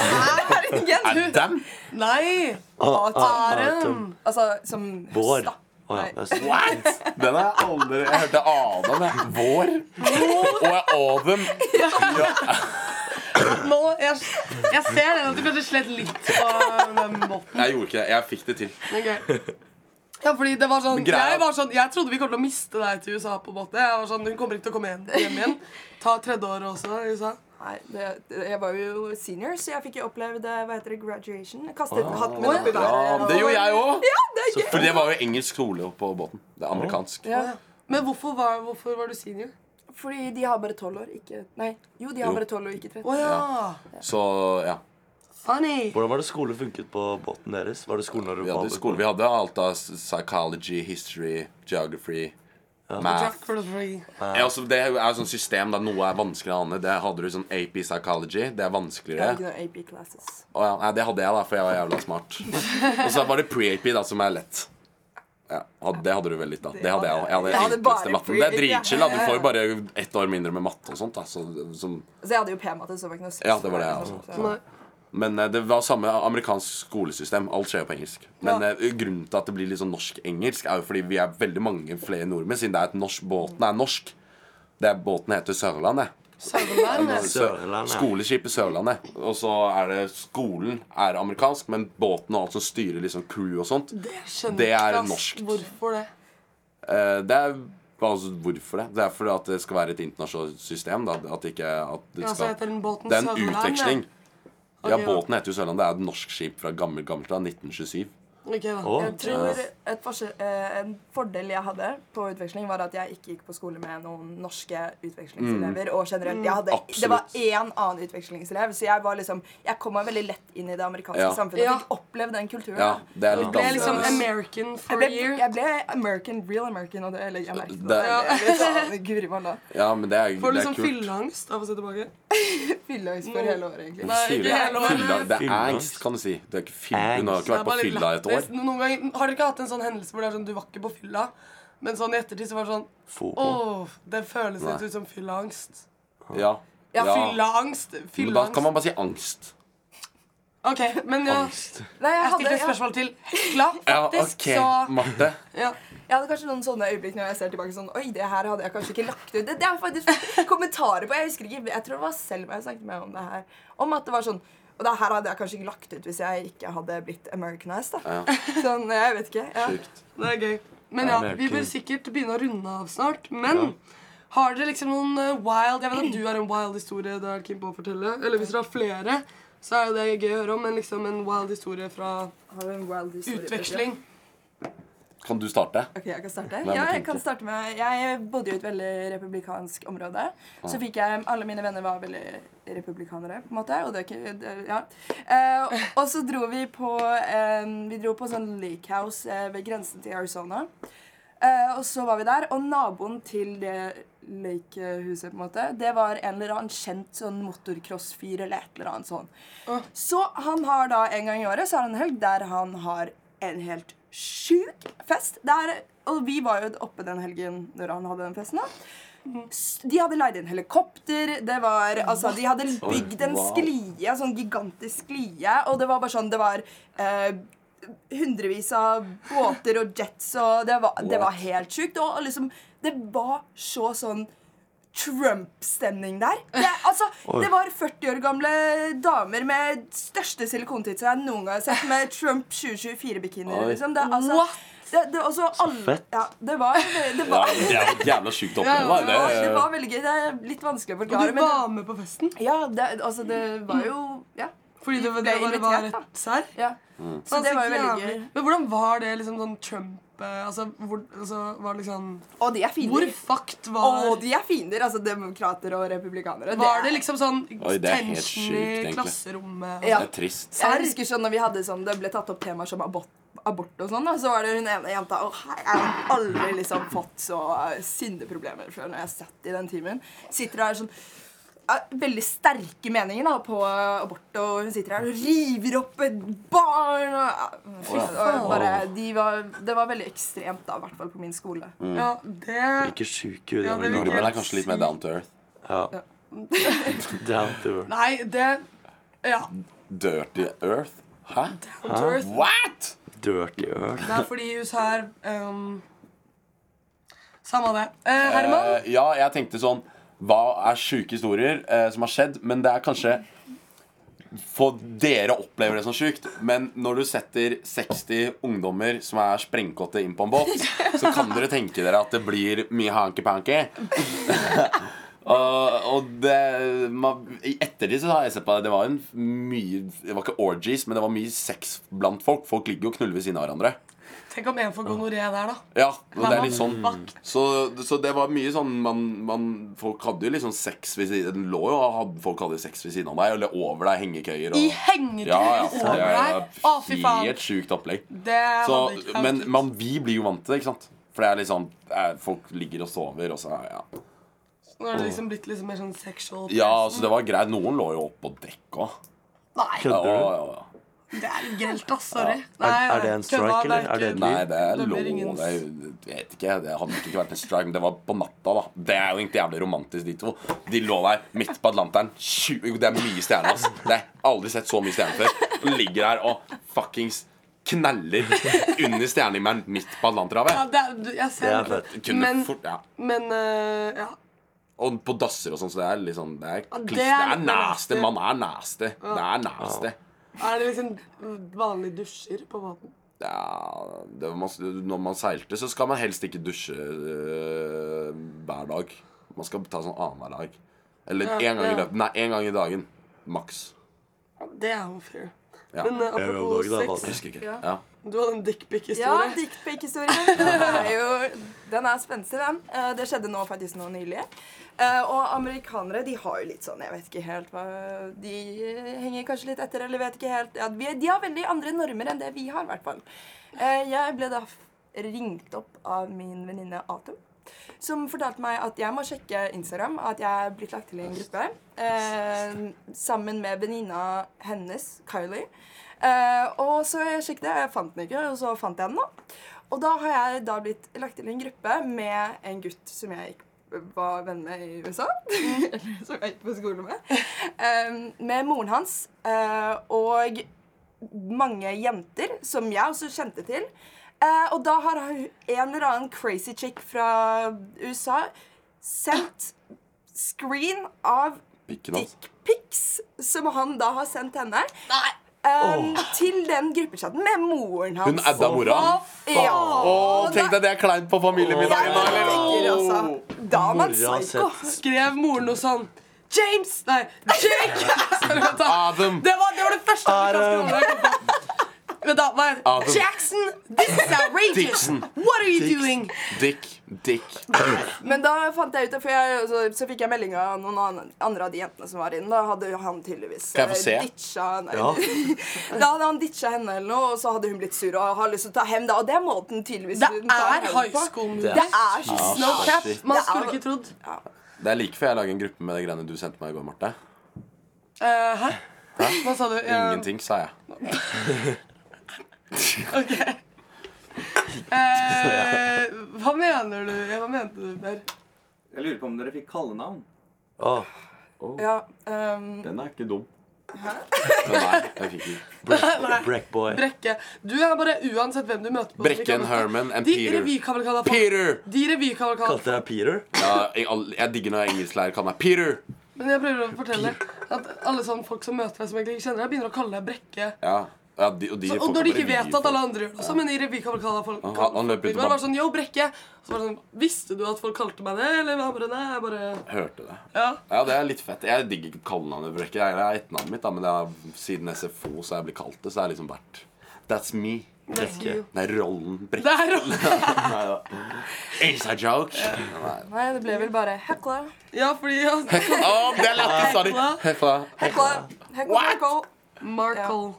Herregud! Adam? Nei! Ah, Aron. Altså som Vår. høsta. Å ja, Nei. det er What? Den har jeg aldri Jeg hørte Adam, jeg. Vår. Og jeg Adam. Nå, jeg, jeg ser den at du kanskje slet litt på den båten. Jeg gjorde ikke det. Jeg fikk det til. Ok. Ja, fordi det var sånn, Men greia- jeg, var sånn, jeg trodde vi kom til å miste deg til USA på båten. Jeg var sånn, Hun kommer ikke til å komme hjem, hjem igjen. Ta tredje året også i USA. Nei, det, det, jeg var jo senior, så jeg fikk jo opplevd eh, hva heter det, graduation. Jeg kastet Ah. hatten min oppi Ja, været. men det gjorde jeg òg. For det var jo engelsk skole på båten. Det er amerikansk. Ja. Men hvorfor var, hvorfor var du senior? Fordi de har bare tolv år, ikke Nei, jo, de har Jo. bare tolv år, ikke 13. Å ja. Så ja. Funny. Hvordan var det skole funket på båten deres? Var det skolen dere Vi hadde på? skole. Vi hadde alt av psychology, history, geography, math. Jack for the free. Ja, altså, det er jo et sånt system der noe er vanskeligere enn annet. Det hadde du sånn AP psychology. Det er Jeg hadde ikke vanskeligere. noen AP classes. Å, ja. Nei, det hadde jeg, da, for jeg var jævla smart. Og så var det pre-AP, da, som er lett. Ja, had- det hadde du vel litt, da. Det hadde jeg òg. Jeg hadde Jeg hadde bare enkleste matten. Det er pre-AP, ja. dritchill, da. Du får jo bare ett år mindre med matte og sånt, da. Så, som Så jeg hadde jo P-matte, så det var ikke noe stress. Ja, det var det, for meg, ja. liksom, så- Nei. Men eh, det var samme amerikansk skolesystem. Alt skjer jo på engelsk. Men eh, grunnen til at det blir litt sånn norsk-engelsk, er jo fordi vi er veldig mange flere nordmenn, siden det er et norsk, båten er norsk. Det er, båten heter Sørlandet. Sutherland. Sør- Sørlandet. Skoleskipet Sørlandet. Og så er det skolen er amerikansk, men båten og alt som styrer liksom crew og sånt, Det skjønner Det er jeg ikke, ass. norskt. Hvorfor det? eh, det er altså, Hvorfor det? Det er fordi at det skal være et internasjonalt system. Da, at det ikke, at det, Ja, så skal, Altså, heter den båten det er en Sutherland, utveksling. Ok, Ja, ja. båten heter jo Sørlandet. Det er et norsk skip fra gammel, gammelt av 1927. Ok, da. Å, Jeg tror et forskjell, eh, En fordel jeg hadde på utveksling, var at jeg ikke gikk på skole med noen norske utvekslingselever. Og generelt, jeg hadde, Det var Mm. Absolutt. én annen utvekslingselev, så jeg var liksom Jeg kom meg veldig lett inn i det amerikanske Ja. samfunnet. Ja. og Fikk opplevd den kulturen. Ja, da. det er litt Det er liksom annerledes. American Jeg for a ble, year. jeg ble American, real American, og det, eller jeg merket det. Det- Jeg ble sånn, Guri malla. Ja, men det er, Får det liksom er kult. fylleangst av å se tilbake? Fyllehøys for hele året, egentlig. Nei, Sier du? ikke hele året. Fylla, det er Fylla. angst, kan du si. Du er ikke fylla. Hun har Det ikke er vært på bare fylla i et lættis. år. Noen ganger, har dere ikke hatt en sånn hendelse hvor det er sånn, du var ikke på fylla, men sånn i ettertid så var det sånn Fobo. Åh, det føles litt Nei. ut som fyllaangst. Ja. Ja, fyllaangst. Men da kan Fyllaangst. man bare si angst. Ok, men ja, Angst. Nei, jeg jeg hadde, stilte et jeg, spørsmål til Hekla, Ja, faktisk, OK, så Marte. ja. jeg hadde kanskje noen sånne øyeblikk når jeg ser tilbake sånn Oi, det her hadde jeg kanskje ikke lagt ut. Det, det er faktisk kommentarer på Jeg husker ikke, jeg tror det var Selma jeg snakket med om det her. Om at det var sånn Og det her hadde jeg kanskje ikke lagt ut hvis jeg ikke hadde blitt Americanized, da. Ja. Sånn, jeg vet ikke. Ja. Sjukt. Det er gøy. Men Det ja, er vi bør merkelig. sikkert begynne å runde av snart. Men har dere liksom noen eh, wild Jeg vet at du har en wild historie du er keen på å fortelle. Eller hvis dere har flere, så er jo det gøy å høre om. Men liksom en wild historie fra Har du en wild historie, utveksling. Kan du starte? Ok, jeg kan starte. Hvem Ja, jeg tenkte? kan starte med Jeg bodde jo i et veldig republikansk område. Så fikk jeg Alle mine venner var veldig republikanere, på en måte. Og det er ikke det, Ja. Eh, og så dro vi på en, Vi dro på sånn lake house eh, ved grensen til Arizona. Eh, og så var vi der, og naboen til det lakehuset, på en måte, det var en eller annen kjent sånn motocross-fyr eller et eller annet sånn. Så han har da en gang i året så har han en helg der han har en helt sjuk fest. Der, og vi var jo oppe den helgen når han hadde den festen. da. S- De hadde leid inn helikopter. Det var, altså, de hadde bygd en Wow. sklie, en sånn gigantisk sklie, og det var bare sånn Det var eh, hundrevis av båter og jets, og det var, det var helt sjukt. Og liksom, det var så sånn Trump-stemning der. Det, altså, det var 40 år gamle damer med største silikontitser jeg noen gang har sett, med Trump 2024-bikinier. Oi. Liksom. Det, altså, det, det, altså, alle, fett. Ja, det var, det, Ja, var, det, det er jo et jævla sjukt Ja, opplegg. var, da. Det, det var veldig gøy. Det er litt vanskelig å forklare, Du men var med på festen ja, det, altså, det var jo Ja. fordi det, det, Ble bare var invitert, da. et serr. ja. Så Sånn det var jo veldig gøy. Men hvordan var det liksom sånn Trump eh, Altså, hvor, altså var det liksom Og de er Hvor fiender. fucked var Og de er fiender, altså demokrater og republikanere. Var er- det liksom sånn Oi, det er helt tension sjukt, i egentlig. klasserommet? Ja. det er trist. Jeg husker sånn når vi hadde sånn, det ble tatt opp temaer som abort, abort og sånn, da, så var det hun ene jenta Å, hei, jeg har aldri liksom fått så eh, sinneproblemer før når jeg har sett i den timen. Sitter der sånn eh, Veldig sterke meninger da, på eh, abort, og hun sitter her og river opp et barn. Og, eh, fy, det var bare, de var, det var veldig ekstremt, da, i hvert fall på min skole. Mm. Ja, det Ikke sjuke i det Ja, det organet. virker- Nordmenn er kanskje litt mer down to earth. Ja. Down to earth. Nei, det Ja. Dirty earth? Hæ? Hunter, What?! Dirty earth. Det er fordi USA er um, Samme det. Eh, Herman? Eh, ja, jeg tenkte sånn Hva er sjuke historier eh, som har skjedd? Men det er kanskje For dere opplever det som sjukt, men når du setter 60 ungdommer som er sprengkåte, inn på en båt, så kan dere tenke dere at det blir mye hanky-panky. og, og det man, I ettertid så har jeg sett på det. Det var en mye Det var ikke orgies, men det var mye sex blant folk. Folk ligger jo og knuller ved siden av hverandre. Tenk om en får gonoré der, da. Ja, og det er litt sånn Fuck. så, så det var mye sånn man, man, Folk hadde jo liksom sex ved siden Den lå jo og hadde, folk hadde sex ved siden av deg Eller over deg, hengekøyer og, I hengekøye over deg? Å, fy det er faen. helt sjukt opplegg Det hadde så, ikke vært Men ut. man, vi blir jo vant til det, ikke sant? For det er litt sånn, eh, folk ligger og sover og så, ja. Nå har det liksom blitt liksom mer sånn sexual ja, så det var greit Noen lå jo opp på dekk også Nei, ja, Kødder du? ja, ja. det er grelt, ass. Sorry. er det en strike, kødda, eller? ikke- Er det et Nei, det er Det lå blir det, ingen- er jo- Jeg vet ikke, det hadde nok ikke vært en strike Men det var på natta da Det er jo egentlig jævlig romantisk de to De lå der midt på Atlanteren 20, Det er mye stjerner ass Det er aldri sett så mye stjerner før De Ligger der og fuckings kneller Under stjernehimmelen midt på Ja, Atlanterhavet det er, du- jeg ser Det er det. fett. Kunne Men, fort, ja men eh, ja. Og på dasser og sånn Så det er litt sånn Det er, kliss, det det er er litt nasty nasty. Man er nasty Det er nasty Er det liksom vanlige dusjer på båten? ja, det var masse, når man seilte, så skal man helst ikke dusje øh, hver dag. Man skal ta sånn annenhver dag. Eller Ja, én gang i ja. løpet. Nei, én gang i dagen. Maks. Det er jo fair. Ja. Men eh, er jo apropos dog, da, sex, Husker ikke. Ja. Ja. du hadde en Ja, dickpic-historie. dickpic-historien. Den er jo Den er spenstig, den. Eh, Det skjedde nå faktisk nå nylig. Eh, Og amerikanere de har jo litt sånn Jeg vet ikke helt hva De henger kanskje litt etter, eller vet ikke helt ja, vi- De har veldig andre normer enn det vi har, i hvert fall. Eh, Jeg ble da f- ringt opp av min venninne Atom. Som fortalte meg at jeg må sjekke Instagram, at jeg er blitt lagt til i en gruppe. Eh, sammen med venninna hennes, Kylie. Eh, og så jeg sjekket det, og jeg fant den ikke, og så fant jeg den da. Og da har jeg da blitt lagt til en gruppe med en gutt som jeg gikk var venn med i USA. Eller som jeg gikk på skole med. Eh, med moren hans eh, og mange jenter som jeg også kjente til. Eh, og da har hun- en eller annen crazy chick fra USA sendt screen av Pikken hans. dickpics som han da har sendt henne. Um, Til den gruppechatten med moren hans. Hun adda mora. Ja. Å, tenk deg det er kleint på familiemiddagen, da! Jeg tenker eller? altså, da er man Mora har psyko. Skrev moren noe sånn James! Nei, Jake! Sorry, vent da. Adam! Det var det, var det første Adam. amerikanske navnet jeg kom på. Vent da, hva Ah, er Adam. det? Jackson, this is outrageous! Dixon. What are you doing? Dick, dick. Men da fant jeg ut det, for jeg, så, så fikk jeg melding av noen an- andre av de jentene som var inne. Da hadde jo han tydeligvis Kan jeg få eh, se? ditcha nei, Ja. Da hadde han ditcha henne eller noe, og så hadde hun blitt sur og har lyst til å ta hevn. da, Og det er måten tydeligvis Det hun tar er hevn high på. school Det movie. er Det er så Ah, snart. Crap, shit. man Det er- skulle ikke trodd. Det er like før jeg lager en gruppe med de greiene du sendte meg i går, Marte. Eh, hæ? Hva sa du? Eh, Ingenting, sa jeg. Ok. Eh, hva mener du? Ja, Hva mente du, Per? Jeg lurer på om dere fikk kallenavn. Ah, Ja, ehm, Den er ikke dum. Nei, jeg fikk den. Breakboy. Brekke. Du er bare uansett hvem du møter på Brekken, Herman and De Peter. revykavalkadene på- Peter! De revykavalkadene Kalte jeg Peter? Ja, jeg, all- jeg digger når engelsklærer kaller meg Peter. Men jeg prøver å fortelle at alle sånne folk som møter deg, som egentlig ikke kjenner deg, begynner å kalle deg Brekke. Ja, ja de, og de Så, og folka når de på ikke revy- vet at alle andre gjør det også, men i revykavalkadene folk Han- han løp ut og Det var bare- sånn Yo, Brekke. Så var det sånn Visste du at folk kalte meg det, eller? Jeg bare, Nei, jeg bare Hørte det. Ja. Ja, det er litt fett. Jeg digger ikke kallenavnet Brekke. Jeg er etternavnet mitt, da, men det er, siden SFO så har jeg blitt kalt det, så har jeg liksom vært That's me. Brekke. Det er rollen Brekke. Det er It's a joke. Nei. nei, det ble vel bare hekla. Ja, fordi ja, Å, det er lættis, sorry. Hekla. Hekla. Hekla. Hekla, hekla. Markle.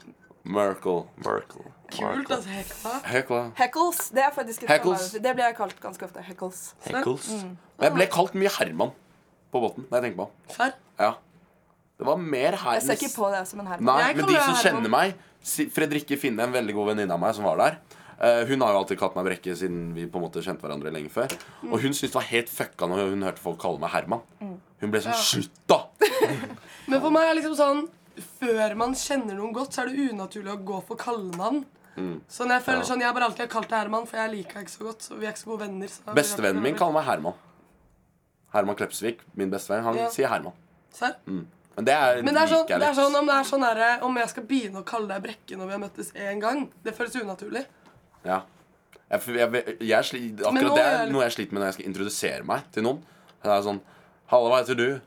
Merkel. Merkel. Kult, altså. Hekla. Hekla. Heckles. Det er faktisk et Heckles. kallenavn. Det blir jeg kalt ganske ofte. Heckles. Heckles. Men jeg ble kalt mye Herman på båten. Når jeg tenker på det. Serr? Ja. Det var mer her. Jeg ser ikke på det som en herre. Nei, Jeg men de kaller deg som Herman. kjenner meg si- Fredrikke Finne, en veldig god venninne av meg som var der eh, Hun har jo alltid kalt meg Brekke siden vi på en måte kjente hverandre lenge før. Og hun syntes det var helt fucka når hun hørte folk kalle meg Herman. Mm. Hun ble sånn Slutt, da! Men for meg er liksom sånn Før man kjenner noen godt, så er det unaturlig å gå for kallenavn. Mm. Sånn, jeg føler sånn, jeg har bare alltid kalt deg Herman, for jeg liker deg ikke så godt. Så vi er ikke så gode venner. så da- Bestevennen min kaller meg Herman. Herman Klepsvik, min bestevenn, han Ja. sier Herman. Serr? Men det er, Men det er sånn, Mm. liker jeg det er litt. sånn, om, det er sånn derre, om jeg skal begynne å kalle deg Brekke når vi har møttes én gang, det føles unaturlig. Ja. Jeg, jeg, jeg, jeg sli, Men nå akkurat det er er jeg- noe jeg sliter med når jeg skal introdusere meg til noen. Det er sånn Halla, hva heter du?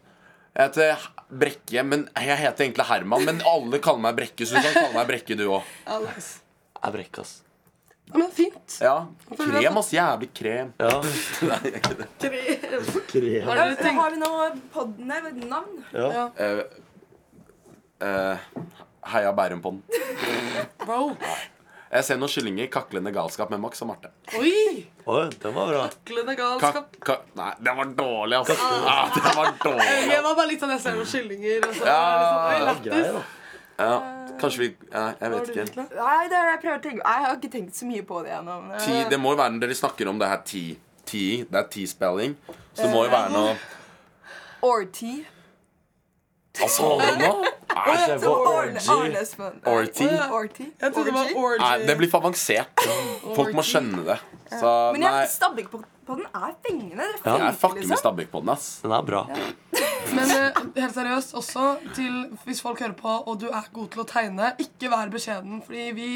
Jeg heter H- Brekke, men jeg heter egentlig Herman. Men alle kaller meg Brekke, så du kan kalle meg Brekke, du òg. Ja, nice. Jeg brekker, ass. Ja, Men fint. Ja. Krem, ass. Jævlig krem. Ja. Krem. Har Ja, dere tenkt har vi nå podden her? Navn? Ja. Eh, eh, heia Bærum på den. Bro. Jeg ser noen kyllinger. Kaklende galskap med Max og Marte. Oi! Oi, den var bra. Glede Ka galskap. ka nei, den var dårlig, ass. Ah, den var dårlig. Jeg var bare litt sånn, jeg ser noen skillinger. Og så, Ja, er det sånn, Oi, Grei, da. lættis. Ja, kanskje vi Nei, jeg Har vet du ikke. tenkt det? Nei, det er det jeg prøver å tenke Jeg har ikke tenkt så mye på det gjennom ti, det må jo være Dere snakker om det her ti. ti det er ti-spelling. Så det må jo være noe Orty. Altså, nå? Nei, det var orgy. Arnesmøn. Orty? Orty. Jeg trodde det var Orgy. orgy. Nei, det blir for avansert. Folk må skjønne det. Så Men nei. jeg liksom. stabbik på, på den er fengende. Dere Jeg fenker, fucker med stabbik på den, ass. Den er bra. Men eh, helt seriøst, også til hvis folk hører på og du er god til å tegne, ikke vær beskjeden. Fordi vi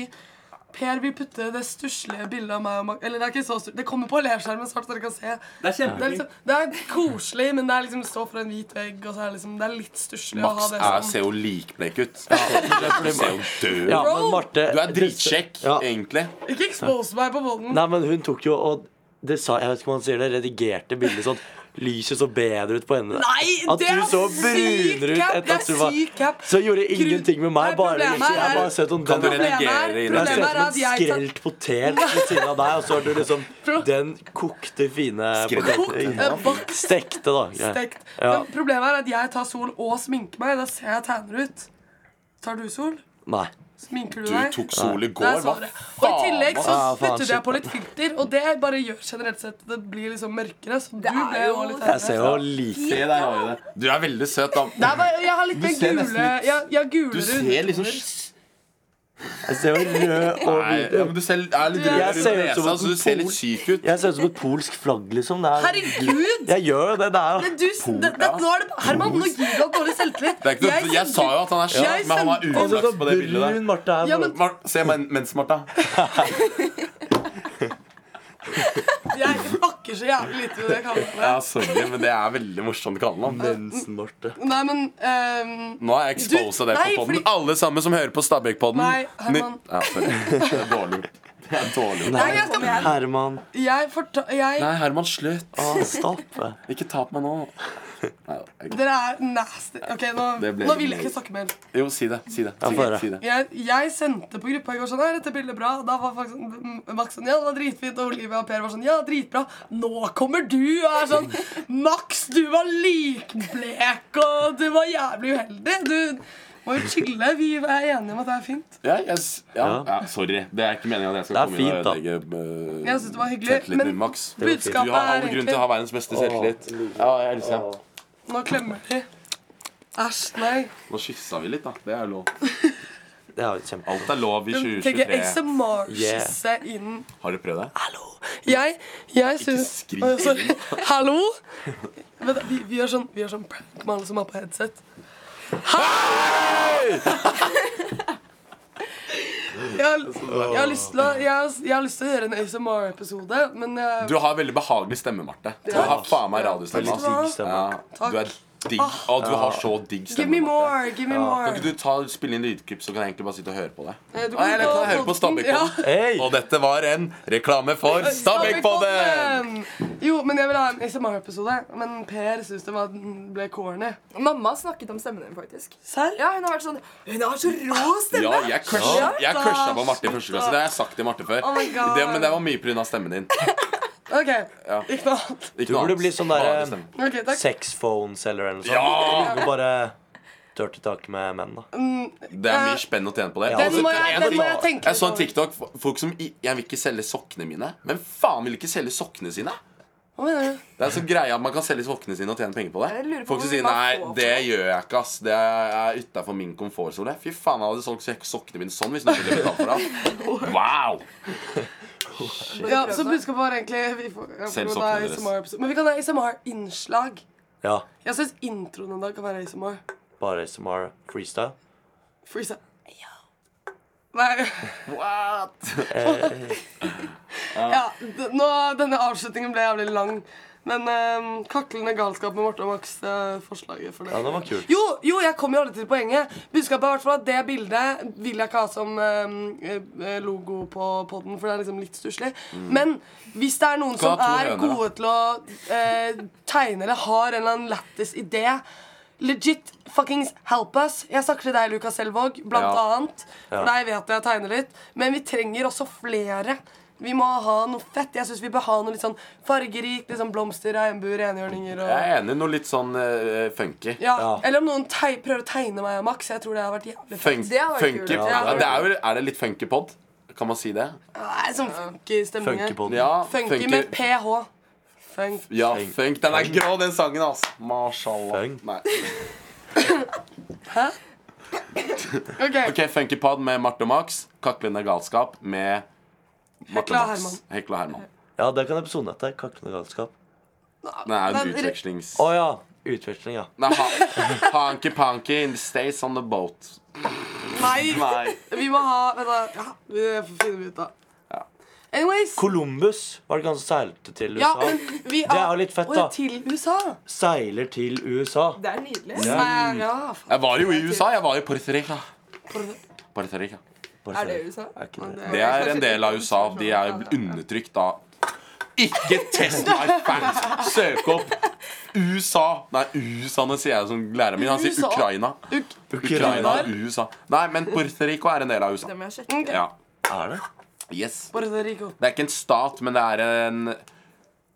Per vil putte det stusslige bildet av meg og Mag... Eller det er ikke så stusslig. Det kommer på elevskjermen snart, så dere kan se. Det er Det er, kjempefint. liksom, det er koselig, men det er liksom stå for en hvit vegg, og så er det liksom Det er litt stusslig å ha Max det er, sånn. ser jo likblek ut. Du ser jo død Ja, ut. men Marte Du er dritsjekk, Ja. egentlig. Ikke expose meg på volden. Nei, men hun tok jo og det sa, Jeg vet ikke om man sier det, redigerte bildet sånn. Lyset så bedre ut på henne. Nei, At det du er så syk brunere ut cap! etter Det at du er var syk cap. Så gjorde ingenting med meg. Nei, bare problemet liksom, Jeg er- har bare sett om Kan den Jeg du Problemet redigere i er, har det? sett som problemet er en at jeg tar skrelt potet ved siden av deg, og så har du liksom Pro- den kokte, fine Skrelt poteten. potet? Eh, bak- Stekte, da. greit. stekt. Ja. Men problemet er at jeg tar sol og sminker meg. Da ser jeg tegner ut. Tar du sol? Nei. Sminker du Du deg? tok sol i Der går. sa Hva du det. Og i tillegg så Ah, faen, puttet jeg shit. på litt filter, og det bare gjør generelt sett at det blir liksom mørkere. Så du Det er ble jo jo- litt Jeg ser jo like Se, der har vi det. Du er veldig søt, Det da. er bare, jeg har litt mer ser nesten gule litt- Jeg, jeg har gulere Du ser liksom undertoner. Jeg ser jo rød og Nei, hvit ja, men du ser, er litt Du- rød Jeg rundt ser ut som nesa, en så du ser litt pol. syk ut. Jeg ser ut som et polsk flagg, liksom. Det er, Herregud! jeg gjør jo det. Det er Men du, det, det, nå er det, Herman, nå gir du opp dårlig selvtillit. Det er ikke noe, jeg, sa jo at han er jeg skjønn, men han var sendte- Altså, så uflaks på det bildet der. brun Marte er Ja, men- Mar se men, mens, Martha. Jeg fucker snakker så jævlig lite om det Ja, kallenavnet. sorry, men det er veldig morsomt kallenavn. Mensen-Marte. Nei, men ehm, Nå har jeg exposa Du- deg nei, på podden. fordi- Alle sammen som hører på Stabæk-podden. Nei, Herman. nytt- Ja, sorry. Det er dårlig gjort. Det er dårlig gjort. Nei, jeg skal- Kom igjen. Herman. jeg forta... Jeg Nei, Herman, slutt. Å, stopp. Ikke tap meg nå. Nei, jeg, Dere er nasty. Ok, nå, Det ble nå litt vil jeg mye. ikke snakke mer. jo, si det. Si det. Ja, Si få det, høre. si det. Jeg, jeg sendte på gruppa i går sånn her, dette bildet er bra. Da var faktisk, m- Max sånn, ja, det var dritfint. Og Olivia og Per var sånn, ja, dritbra. Nå kommer du og er sånn, Max, du var likblek, og du var jævlig uheldig. Du må jo chille. Vi er enige om at det er fint. Ja, jeg, s- Ja. ja, ja, sorry. Det er ikke meningen at Det er jeg skal komme inn og fint, ødelegge eh, Jeg synes det var hyggelig, selvtilliten men din, Max. Det var fint. budskapet Du har er all grunn til å ha verdens beste selvtillit. Ja, jeg elsker deg. Nå klemmer de. Æsj, nei. Nå kyssa vi litt, da. Det er lov. Det er jo kjempe... Alt er lov i Tenker jeg 2023. ASMR-kysse inn. Har du prøvd det? Jeg, jeg syns skrik. Oi, sorry. Hallo? Vent, da, vi, vi gjør sånn, vi gjør sånn prank med alle som har på headset. Hei! Jeg, har- jeg, har lyst til å, jeg, har, jeg har lyst til å gjøre en ASMR-episode, men eh, jeg, Du har veldig behagelig stemme, Marte. Du har faen meg radiostemme. Veldig ass. digg stemme. Ja, du er digg. Og du har så digg stemme. Ah. Give me Marte. more! give me more Kan ikke du ta, spille inn lydklipp, så kan jeg egentlig bare sitte og høre på det? Eh, du Nei, eller kan jeg høre på podden. Stabæk-podden? Ja. Hei! Og dette var en reklame for Stabæk-podden! Stabæk-podden! Jo, men jeg vil ha en ASMR-episode. Men Per syns det var, ble corny. Mamma snakket om stemmen din, faktisk. Serr? Ja, hun har vært sånn Hun har så rå Ja, stemme! jeg crusha, jeg crusha på Stakkars. Marte i første klasse. Det har jeg sagt til Marte før. Oh my God. det, men det var mye pga. stemmen din. OK, ikke noe annet. Ikke Du noe burde annet. bli sånn der, Bare stemmen. Ok, takk. Sexphone-selger eller noe Ja! sånt. Du bare dør til taket med menn, da. Det er mye spenn å tjene på det. Ja, Den altså, Mm, må jeg, en den ting- må jeg tenke jeg så en litt over. TikTok. Folk som i- Jeg vil ikke selge sokkene mine. Men faen vil ikke selge sokkene sine? Hva mener du? Det er så greia at Man kan selge sokkene sine og tjene penger på Jeg lurer det. på Folk som hvor sier man nei, får for det gjør jeg ikke. ass Det er utafor min komfortsone. Fy faen, jeg hadde solgt sok- sokkene mine sånn hvis noen ville betalt for det. Wow! Ja, så budskapet var egentlig vi får, ja, Selv sånn jo, det sokkene er deres. ASMR-episode. Men vi kan ha ASMR-innslag. Ja. Jeg syns introen en dag kan være ASMR. Bare ASMR freestyle. Freeze. Nei. ja, d nå, denne avslutningen ble jævlig lang. Men ehm, kaklende galskap med Marte og Max, eh, forslaget for det. Ja, det var kult. Jo, jo, jeg kom jo aldri til poenget. Budskapet er i hvert fall at det bildet vil jeg ikke ha som ehm, eh, logo på podden, for det er liksom litt stusslig. Men hvis det er noen Kan som Mm. ha to er høner, da. gode til å eh, tegne eller har en eller annen lættis idé Legit fuckings help us. Jeg snakker til deg, Lukas Selvåg, blant Ja. annet. For deg vet jeg tegner litt. Men vi trenger også flere. Vi må ha noe fett. Jeg syns vi bør ha noe litt sånn fargerikt. Liksom blomster, regnbuer, enhjørninger og Jeg er enig. Noe litt sånn eh, funky. ja. Ja. Eller om noen tei prøver å tegne meg og Max. Jeg tror det hadde vært jævlig fett. Funk, Det hadde vært funky. kult. Ja, Ja. det er, jo, er det litt funky pod? Kan man si det? Nei, sånn funky stemning. her. Funkepodden. Ja, Funky med ph. Funk. Ja, funk. Den er grå, den sangen, ass. Mashallah. Funk. Nei. Ok, Ok, funky pod med Marte og Max. Kaklende galskap med Marte Hekla og og Max. Herman. Hekla og Herman. Ja, det kan episoden hete. Kaklende galskap. Nei, er Men- en utvekslings... Å ja. Utveksling, ja. Nei, ha- hanky-panky in the stays on the boat. Nei, Nei. vi må ha Vent, da. Ja, vi får finne ut av. Anyways. Columbus var det han som seilte til Ja, USA. men vi Det er jo litt fett, Å, da. Til USA. Seiler til USA. Det er nydelig. Ja. Nei, ja, faen. Jeg var jo i USA. Jeg var i Puerto Rico. Puerto Rico. Bare Er det så- USA? Er ikke det. Det er en del av USA. De er undertrykt da Ikke test my facts! Søk opp USA. Nei, USA, nå sier jeg som læreren min. Han sier USA. Ukraina. Uk- Ukraina, USA. Nei, men Puerto Rico er en del av USA. Det må jeg sjekke. Ja. Er det? Yes. Puerto Rico. Det er ikke en stat, men det er en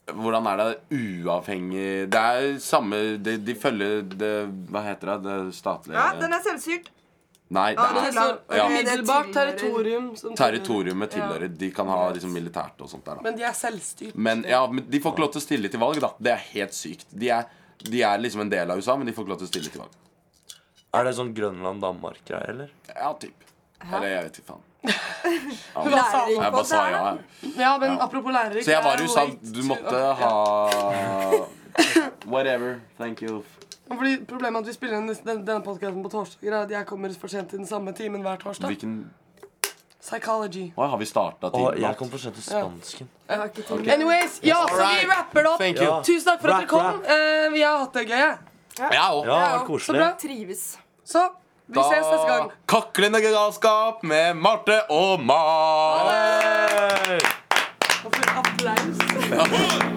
Hvordan er det uavhengig Det er samme De, de følger det Hva heter det? Det statlige Ja, den er selvstyrt. Nei, det den er er så- Ja. Umiddelbart Det tilhører- territorium som territoriumet tilhører De kan ha liksom militært og sånt der, da. Men de er selvstyrt. Men ja, men de får ikke lov til å stille til valg, da. Det er helt sykt. De er, de er liksom en del av USA, men de får ikke lov til å stille til valg. Er det sånn Grønland-Danmark-greie, eller? Ja, typ. Eller jeg vet ikke faen. Lærer Jeg ikke bare på sa ja. det. jeg. Ja, men apropos lærere Så jeg var i jeg er USA. late Du to- måtte Ja. ha Whatever. Thank you. Fordi Problemet er at vi spiller inn denne, denne podcasten på torsdager. er at Jeg kommer for sent til den samme timen hver torsdag. Hvilken Psychology. Oi, har vi starta Og tidlig? jeg kom for sent til spansken. Jeg har ikke tid. Anyways, ja, så vi Alright. rapper det opp. Thank you. Tusen takk for at Rap, dere kom. Eh, vi har hatt det gøy. jeg. Ja, Ja, og det var Ja, så koselig. bra. Trives. Så vi da ses neste gang. Kaklende galskap med Marte og Mar. Hey! Og for applaus. Ja.